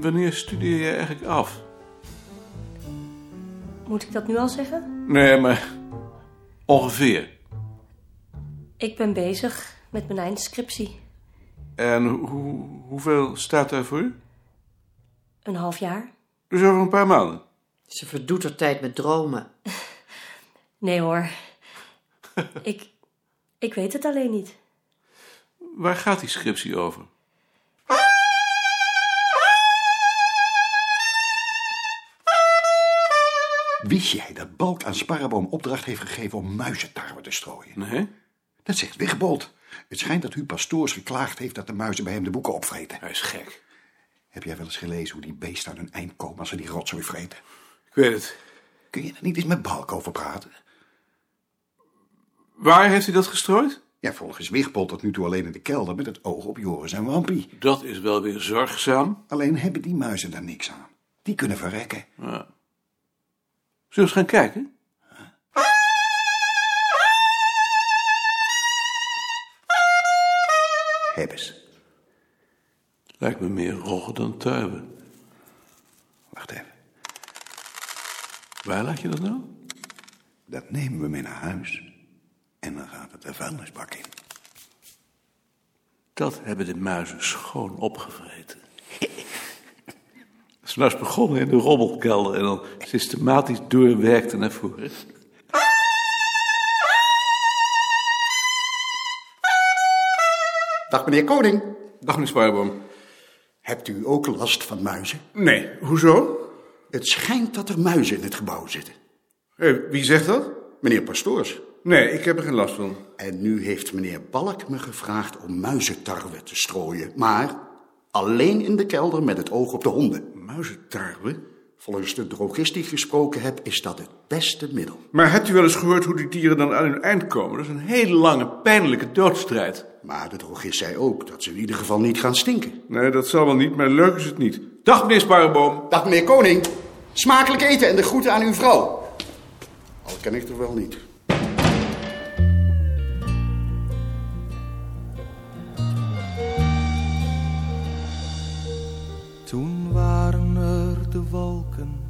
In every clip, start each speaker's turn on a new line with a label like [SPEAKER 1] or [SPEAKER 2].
[SPEAKER 1] wanneer studeer je eigenlijk af?
[SPEAKER 2] Moet ik dat nu al zeggen?
[SPEAKER 1] Nee, maar ongeveer.
[SPEAKER 2] Ik ben bezig met mijn eindscriptie.
[SPEAKER 1] En ho- hoe, hoeveel staat daar voor u?
[SPEAKER 2] Een half jaar.
[SPEAKER 1] Dus over een paar maanden.
[SPEAKER 3] Ze verdoet haar tijd met dromen.
[SPEAKER 2] Nee hoor. ik, ik weet het alleen niet.
[SPEAKER 1] Waar gaat die scriptie over?
[SPEAKER 4] Wist jij dat Balk aan Sparreboom opdracht heeft gegeven om muizentarwe te strooien?
[SPEAKER 1] Nee?
[SPEAKER 4] Dat zegt Wigbold. Het schijnt dat u pastoors geklaagd heeft dat de muizen bij hem de boeken opvreten.
[SPEAKER 1] Hij is gek.
[SPEAKER 4] Heb jij wel eens gelezen hoe die beesten aan hun eind komen als ze die rotzooi vreten?
[SPEAKER 1] Ik weet het.
[SPEAKER 4] Kun je er niet eens met Balk over praten?
[SPEAKER 1] Waar heeft hij dat gestrooid?
[SPEAKER 4] Ja, volgens Wigbold tot nu toe alleen in de kelder met het oog op Joris en Wampie.
[SPEAKER 1] Dat is wel weer zorgzaam.
[SPEAKER 4] Alleen hebben die muizen daar niks aan. Die kunnen verrekken.
[SPEAKER 1] Zullen we eens gaan kijken?
[SPEAKER 4] Hebben ze.
[SPEAKER 1] Lijkt me meer roggen dan tuiben.
[SPEAKER 4] Wacht even.
[SPEAKER 1] Waar laat je dat nou?
[SPEAKER 4] Dat nemen we mee naar huis. En dan gaat het de vuilnisbak in.
[SPEAKER 1] Dat hebben de muizen schoon opgevreten. S'nachts begonnen in de robbelkelder en dan systematisch doorwerkte naar voren.
[SPEAKER 4] Dag meneer Koning.
[SPEAKER 1] Dag, meneer Spaarboom.
[SPEAKER 4] Hebt u ook last van muizen?
[SPEAKER 1] Nee, hoezo?
[SPEAKER 4] Het schijnt dat er muizen in het gebouw zitten.
[SPEAKER 1] wie zegt dat?
[SPEAKER 4] Meneer Pastoors.
[SPEAKER 1] Nee, ik heb er geen last van.
[SPEAKER 4] En nu heeft meneer Balk me gevraagd om muizentarwe te strooien. Maar alleen in de kelder met het oog op de honden.
[SPEAKER 1] Muizentarwe?
[SPEAKER 4] Volgens de drogist die ik gesproken heb, is dat het beste middel.
[SPEAKER 1] Maar hebt u wel eens gehoord hoe die dieren dan aan hun eind komen? Dat is een hele lange, pijnlijke doodstrijd.
[SPEAKER 4] Maar de drogist zei ook dat ze in ieder geval niet gaan stinken.
[SPEAKER 1] Nee, dat zal wel niet, maar leuk is het niet. Dag, meneer Spaarboom.
[SPEAKER 4] Dag meneer Koning. Smakelijk eten en de groeten aan uw vrouw. Al ken ik er wel niet.
[SPEAKER 5] Toen waren er de wolken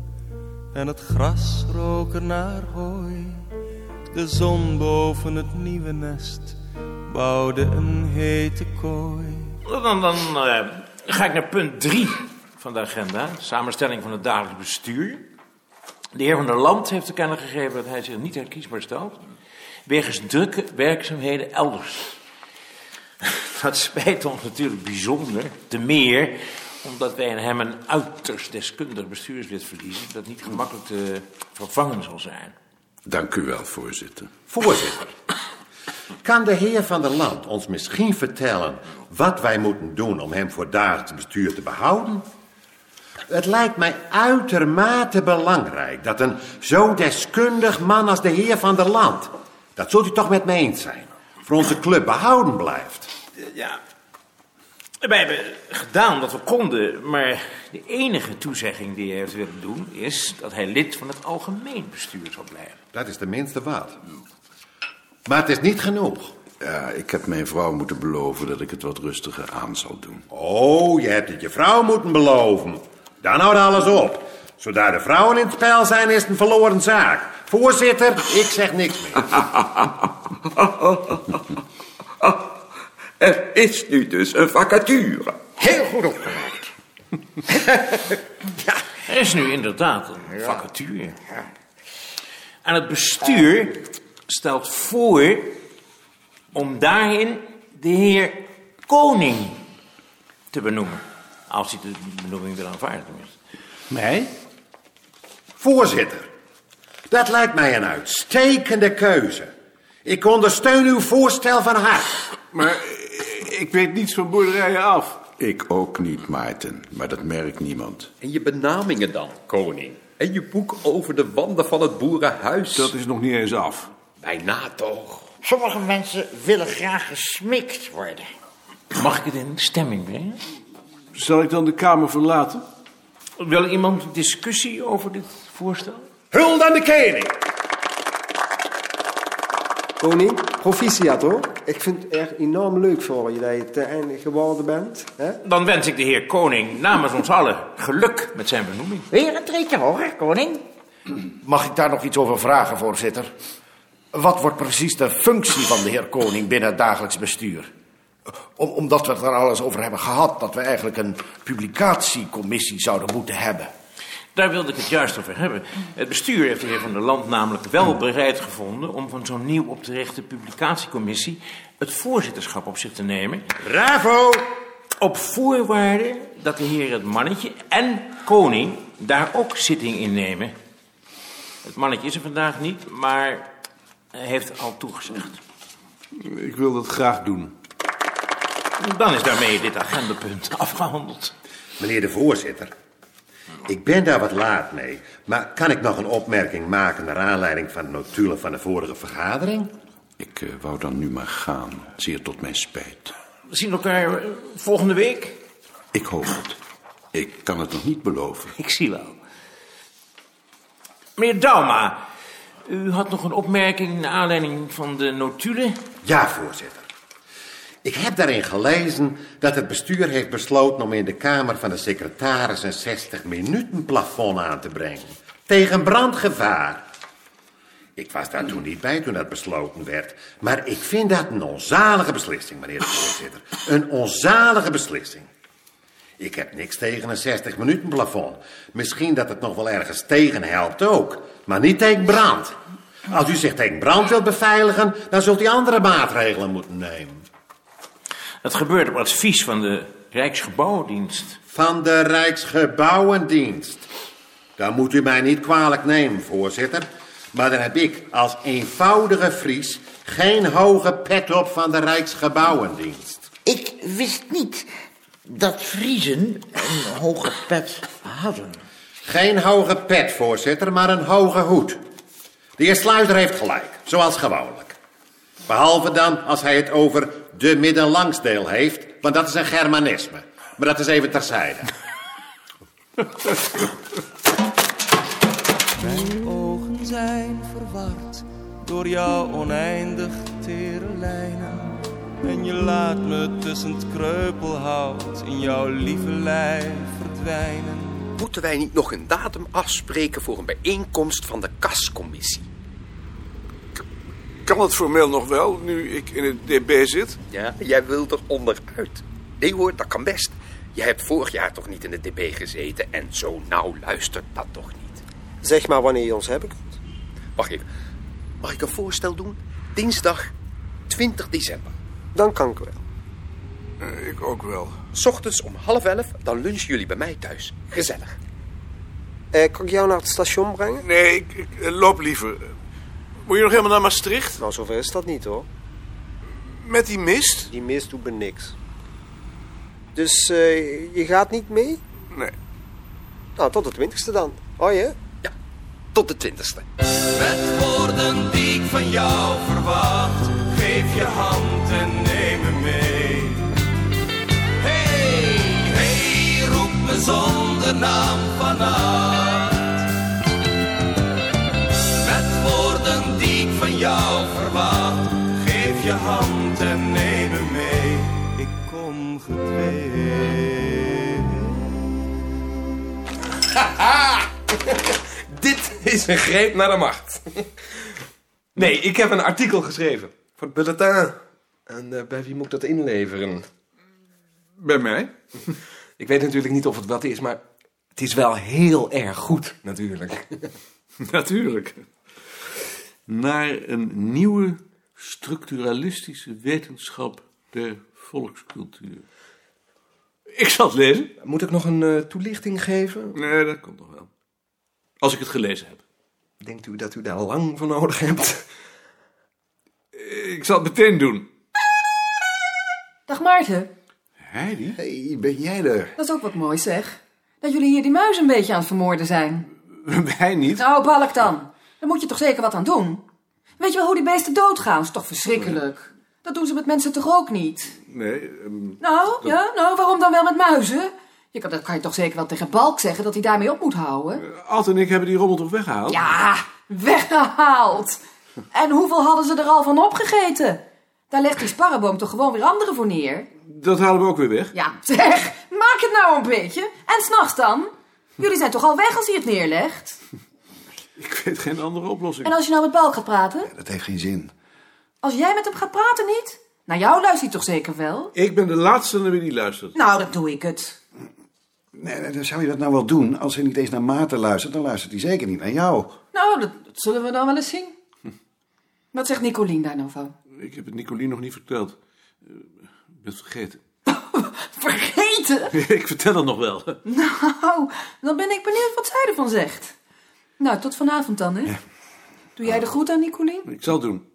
[SPEAKER 5] en het gras rook er naar hooi. De zon boven het nieuwe nest bouwde een hete kooi.
[SPEAKER 6] Dan, dan eh, ga ik naar punt 3 van de agenda. Samenstelling van het dagelijks bestuur. De heer van der Land heeft te kennen gegeven dat hij zich niet herkiesbaar stelt. Wegens drukke werkzaamheden elders. Dat spijt ons natuurlijk bijzonder. Te meer omdat wij in hem een uiterst deskundig bestuurslid verliezen. Dat niet gemakkelijk te vervangen zal zijn.
[SPEAKER 7] Dank u wel, voorzitter.
[SPEAKER 8] Voorzitter, kan de heer van der Land ons misschien vertellen wat wij moeten doen om hem voor dagelijks bestuur te behouden? Het lijkt mij uitermate belangrijk dat een zo deskundig man als de heer van der Land, dat zult u toch met me eens zijn, voor onze club behouden blijft.
[SPEAKER 6] Ja. Wij hebben gedaan wat we konden, maar de enige toezegging die hij heeft willen doen is dat hij lid van het algemeen bestuur zal blijven.
[SPEAKER 8] Dat is tenminste wat. Maar het is niet genoeg.
[SPEAKER 7] Ja, ik heb mijn vrouw moeten beloven dat ik het wat rustiger aan zal doen.
[SPEAKER 8] Oh, je hebt het je vrouw moeten beloven. Dan houdt alles op. Zodra de vrouwen in het spel zijn, is het een verloren zaak. Voorzitter, ik zeg niks meer.
[SPEAKER 9] Er is nu dus een vacature.
[SPEAKER 8] Heel goed opgemerkt.
[SPEAKER 6] Er is nu inderdaad een vacature. En het bestuur stelt voor om daarin de heer Koning te benoemen. Als hij de benoeming wil aanvaarden. tenminste.
[SPEAKER 1] Mij?
[SPEAKER 8] Voorzitter, dat lijkt mij een uitstekende keuze. Ik ondersteun uw voorstel van harte.
[SPEAKER 1] Maar eh, ik weet niets van boerderijen af.
[SPEAKER 7] Ik ook niet, Maarten, maar dat merkt niemand.
[SPEAKER 9] En je benamingen dan, koning. En je boek over de wanden van het boerenhuis.
[SPEAKER 1] Dat is nog niet eens af.
[SPEAKER 9] Bijna toch.
[SPEAKER 10] Sommige mensen willen graag gesmikt worden.
[SPEAKER 6] Mag ik het in stemming brengen?
[SPEAKER 1] Zal ik dan de kamer verlaten?
[SPEAKER 6] Wil iemand discussie over dit voorstel?
[SPEAKER 8] Hulde aan de koning.
[SPEAKER 5] Koning, proficiat hoor.
[SPEAKER 11] Ik vind het echt enorm leuk voor je dat je te eindig geworden bent. Hè?
[SPEAKER 6] Dan wens ik de heer Koning namens ons allen geluk met zijn benoeming.
[SPEAKER 10] Weer een treetje hoger, koning.
[SPEAKER 12] Mag ik daar nog iets over vragen, voorzitter? Wat wordt precies de functie van de heer Koning binnen het dagelijks bestuur? Om- omdat we het er alles over hebben gehad, dat we eigenlijk een publicatiecommissie zouden moeten hebben.
[SPEAKER 6] Daar wilde ik het juist over hebben. Het bestuur heeft de heer Van der Land namelijk wel bereid gevonden om van zo'n nieuw op te richten publicatiecommissie het voorzitterschap op zich te nemen. Bravo! Op voorwaarde dat de heer het mannetje en koning daar ook zitting in nemen. Het mannetje is er vandaag niet, maar hij heeft al toegezegd.
[SPEAKER 7] Ik wil dat graag doen.
[SPEAKER 6] Dan is daarmee dit agendapunt afgehandeld.
[SPEAKER 8] Meneer de voorzitter, ik ben daar wat laat mee. Maar kan ik nog een opmerking maken naar aanleiding van de notulen van de vorige vergadering?
[SPEAKER 7] Ik eh, wou dan nu maar gaan, zeer tot mijn spijt.
[SPEAKER 6] We zien elkaar eh, volgende week.
[SPEAKER 7] Ik hoop het. Ik kan het nog niet beloven.
[SPEAKER 6] Ik zie wel. Meneer Dauma, u had nog een opmerking naar aanleiding van de notulen.
[SPEAKER 8] Ja, voorzitter. Ik heb daarin gelezen dat het bestuur heeft besloten om in de Kamer van de Secretaris een 60-minuten plafond aan te brengen. Tegen brandgevaar. Ik was daar toen niet bij toen dat besloten werd. Maar ik vind dat een onzalige beslissing, meneer de voorzitter. Een onzalige beslissing. Ik heb niks tegen een 60-minuten plafond. Misschien dat het nog wel ergens tegen helpt ook. Maar niet tegen brand. Als u zich tegen brand wilt beveiligen, dan zult u andere maatregelen moeten nemen.
[SPEAKER 6] Dat gebeurt op advies van de Rijksgebouwdienst.
[SPEAKER 8] Van de Rijksgebouwendienst. Dat moet u mij niet kwalijk nemen, voorzitter. Maar dan heb ik als eenvoudige Fries geen hoge pet op van de Rijksgebouwendienst.
[SPEAKER 10] Ik wist niet dat Vriezen een hoge pet hadden.
[SPEAKER 8] Geen hoge pet, voorzitter, maar een hoge hoed. De heer Sluiter heeft gelijk, zoals gewoonlijk. Behalve dan als hij het over de middenlangsdeel heeft, want dat is een Germanisme. Maar dat is even terzijde.
[SPEAKER 5] Mijn ogen zijn verward door jouw oneindig tere lijnen. En je laat me tussen het kreupelhout in jouw lieve lijf verdwijnen.
[SPEAKER 9] Moeten wij niet nog een datum afspreken voor een bijeenkomst van de kascommissie?
[SPEAKER 1] Kan het formeel nog wel, nu ik in het DB zit?
[SPEAKER 9] Ja, jij wilt er onderuit. Nee hoor, dat kan best. Je hebt vorig jaar toch niet in de DB gezeten en zo nauw luistert dat toch niet.
[SPEAKER 11] Zeg maar wanneer, ons heb ik het?
[SPEAKER 9] Wacht even. Mag ik een voorstel doen? Dinsdag 20 december.
[SPEAKER 11] Dan kan ik wel.
[SPEAKER 9] Eh, ik ook wel. Ochtends om half elf, dan lunchen jullie bij mij thuis. Gezellig.
[SPEAKER 11] Eh, kan ik jou naar het station brengen?
[SPEAKER 1] Nee, ik, ik, eh, loop liever. Moet je nog helemaal naar Maastricht?
[SPEAKER 11] Nou, zover is dat niet hoor.
[SPEAKER 1] Met die mist?
[SPEAKER 11] Die mist doet me niks. Dus eh, je gaat niet mee?
[SPEAKER 1] Nee.
[SPEAKER 11] Nou, tot de twintigste dan. Oh, Hoi hè?
[SPEAKER 9] Tot de twintigste.
[SPEAKER 5] Met woorden die ik van jou verwacht, geef je hand en neem me mee. Hey, hey, roep me zonder naam vannacht. Met woorden die ik van jou verwacht, geef je hand en neem me mee. Ik kom gedwee.
[SPEAKER 9] Dit is een greep naar de macht.
[SPEAKER 13] Nee, ik heb een artikel geschreven. Voor het bulletin. En eh, bij wie moet ik dat inleveren? Bij mij? Ik weet natuurlijk niet of het wat is, maar het is wel heel erg goed, natuurlijk.
[SPEAKER 1] Natuurlijk. Naar een nieuwe structuralistische wetenschap der volkscultuur. Ik zal het lezen.
[SPEAKER 13] Moet ik nog een eh, toelichting geven?
[SPEAKER 1] Nee, dat komt nog wel. Als ik het gelezen heb.
[SPEAKER 13] Denkt u dat u daar lang voor nodig hebt?
[SPEAKER 1] Ik zal het meteen doen.
[SPEAKER 14] Dag Maarten,
[SPEAKER 1] Heidi?
[SPEAKER 4] hey, ben jij er?
[SPEAKER 14] dat is ook wat moois zeg. Dat jullie hier die muis een beetje aan het vermoorden zijn.
[SPEAKER 1] Wij niet.
[SPEAKER 14] Nou, balk dan. Daar moet je toch zeker wat aan doen. Weet je wel hoe die beesten doodgaan? Dat is toch verschrikkelijk? Dat doen ze met mensen toch ook niet?
[SPEAKER 1] Nee. ehm,
[SPEAKER 14] Nou, ja, nou, waarom dan wel met muizen? Je kan, dat kan je toch zeker wel tegen Balk zeggen dat hij daarmee op moet houden?
[SPEAKER 1] Alt en ik hebben die rommel toch
[SPEAKER 8] Oh.
[SPEAKER 1] weggehaald?
[SPEAKER 14] Ja, weggehaald. En hoeveel hadden ze er al van opgegeten?
[SPEAKER 8] Daar legt die sparrenboom toch gewoon weer anderen voor neer?
[SPEAKER 1] Dat halen we ook weer weg.
[SPEAKER 8] Ja, zeg, maak het nou een beetje. En s'nachts dan? Jullie zijn toch al weg als hij het neerlegt?
[SPEAKER 1] Ik weet geen andere oplossing.
[SPEAKER 8] En als je nou met Balk gaat praten?
[SPEAKER 1] Dat heeft geen zin.
[SPEAKER 8] Als jij met hem gaat praten niet? Naar jou luistert hij toch zeker wel?
[SPEAKER 1] Ik ben de laatste naar wie die luistert.
[SPEAKER 8] Nou, dan doe ik het.
[SPEAKER 4] Nee, nee, dan zou je dat nou wel doen. Als hij niet eens naar Maarten luistert, dan luistert hij zeker niet naar jou.
[SPEAKER 8] Nou, dat, dat zullen we dan wel eens zien. Wat zegt Nicolien daar nou van?
[SPEAKER 1] Ik heb het Nicolien nog niet verteld. Eh, Ik ben het vergeten.
[SPEAKER 8] Vergeten?
[SPEAKER 1] ik vertel het nog wel.
[SPEAKER 8] Nou, dan ben ik benieuwd wat zij ervan zegt. Nou, tot vanavond dan, hè? Doe jij de groet aan Nicolien?
[SPEAKER 1] Ik zal het doen.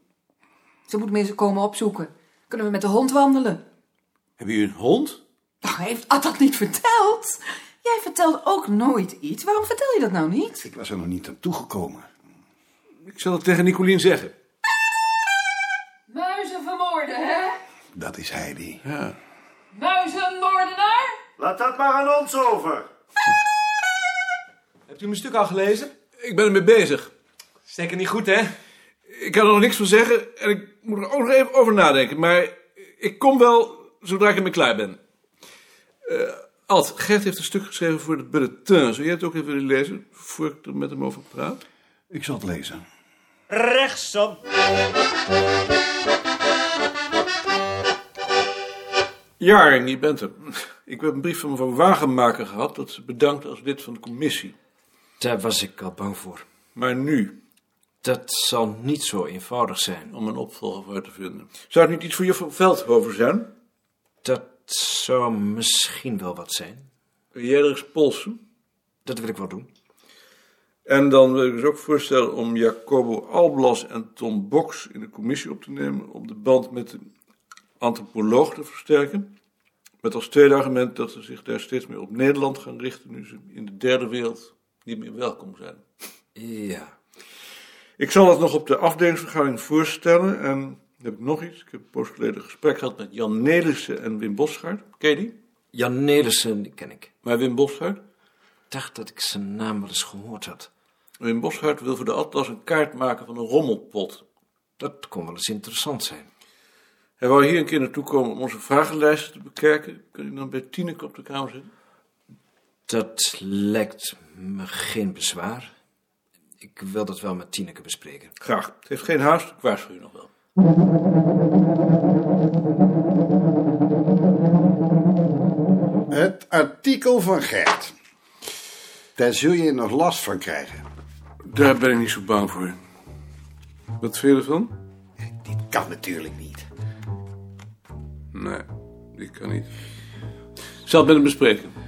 [SPEAKER 8] Ze moet mensen komen opzoeken. Kunnen we met de hond wandelen?
[SPEAKER 1] Heb je een hond?
[SPEAKER 8] Nou, heeft Ad dat niet verteld? Jij vertelt ook nooit iets. Waarom vertel je dat nou niet?
[SPEAKER 1] Ik was er nog niet aan toegekomen. Ik zal het tegen Nicolien zeggen.
[SPEAKER 8] Muizen vermoorden, hè?
[SPEAKER 4] Dat is Heidi.
[SPEAKER 1] Ja.
[SPEAKER 8] Muizenmoordenaar?
[SPEAKER 15] Laat dat maar aan ons over.
[SPEAKER 16] Hebt u mijn stuk al gelezen?
[SPEAKER 1] Ik ben ermee bezig.
[SPEAKER 16] Zeker niet goed, hè?
[SPEAKER 1] Ik kan er nog niks van zeggen en ik moet er ook nog even over nadenken. Maar ik kom wel zodra ik ermee klaar ben. Eh Ad, Gert heeft een stuk geschreven voor de bulletin. Zou jij het ook even willen lezen, voor ik er met hem over praat?
[SPEAKER 4] Ik zal het lezen.
[SPEAKER 15] Rechtsom.
[SPEAKER 1] Jaring, je bent er. Ik heb een brief van mevrouw Wagenmaker gehad dat ze bedankt als lid van de commissie.
[SPEAKER 6] Daar was ik al bang voor.
[SPEAKER 1] Maar nu?
[SPEAKER 6] Dat zal niet zo eenvoudig zijn.
[SPEAKER 1] Om een opvolger voor te vinden. Zou het niet iets voor juffrouw Veldhoven zijn?
[SPEAKER 6] Dat zou misschien wel wat zijn.
[SPEAKER 1] Jij er eens polsen?
[SPEAKER 6] Dat wil ik wel doen.
[SPEAKER 1] En dan wil ik dus ook voorstellen om Jacobo Alblas en Tom Box in de commissie op te nemen om de band met de antropoloog te versterken. Met als tweede argument dat ze zich daar steeds meer op Nederland gaan richten nu ze in de derde wereld niet meer welkom zijn.
[SPEAKER 6] Ja.
[SPEAKER 1] Ik zal dat nog op de afdelingsvergadering voorstellen. En dan heb ik nog iets. Ik heb een poos geleden een gesprek gehad met Jan Nelissen en Wim Bosgaard. Ken je die?
[SPEAKER 6] Jan Nelissen, die ken ik.
[SPEAKER 1] Maar Wim Bosgaard?
[SPEAKER 6] Ik dacht dat ik zijn naam wel eens gehoord had.
[SPEAKER 1] Wim Bosgaard wil voor de Atlas een kaart maken van een rommelpot.
[SPEAKER 6] Dat kon wel eens interessant zijn.
[SPEAKER 1] Hij wou hier een keer naartoe komen om onze vragenlijsten te bekijken. Kun je dan bij Tineke op de kamer zitten?
[SPEAKER 6] Dat lijkt me geen bezwaar. Ik wil dat wel met Tineke bespreken.
[SPEAKER 1] Graag. Het heeft geen haast, ik waarschuw je nog wel.
[SPEAKER 4] Het artikel van Gert. Daar zul je nog last van krijgen.
[SPEAKER 1] Daar ben ik niet zo bang voor. Wat vind je ervan?
[SPEAKER 4] Dit kan natuurlijk niet.
[SPEAKER 1] Nee, ik kan niet. Ik zal het met hem bespreken.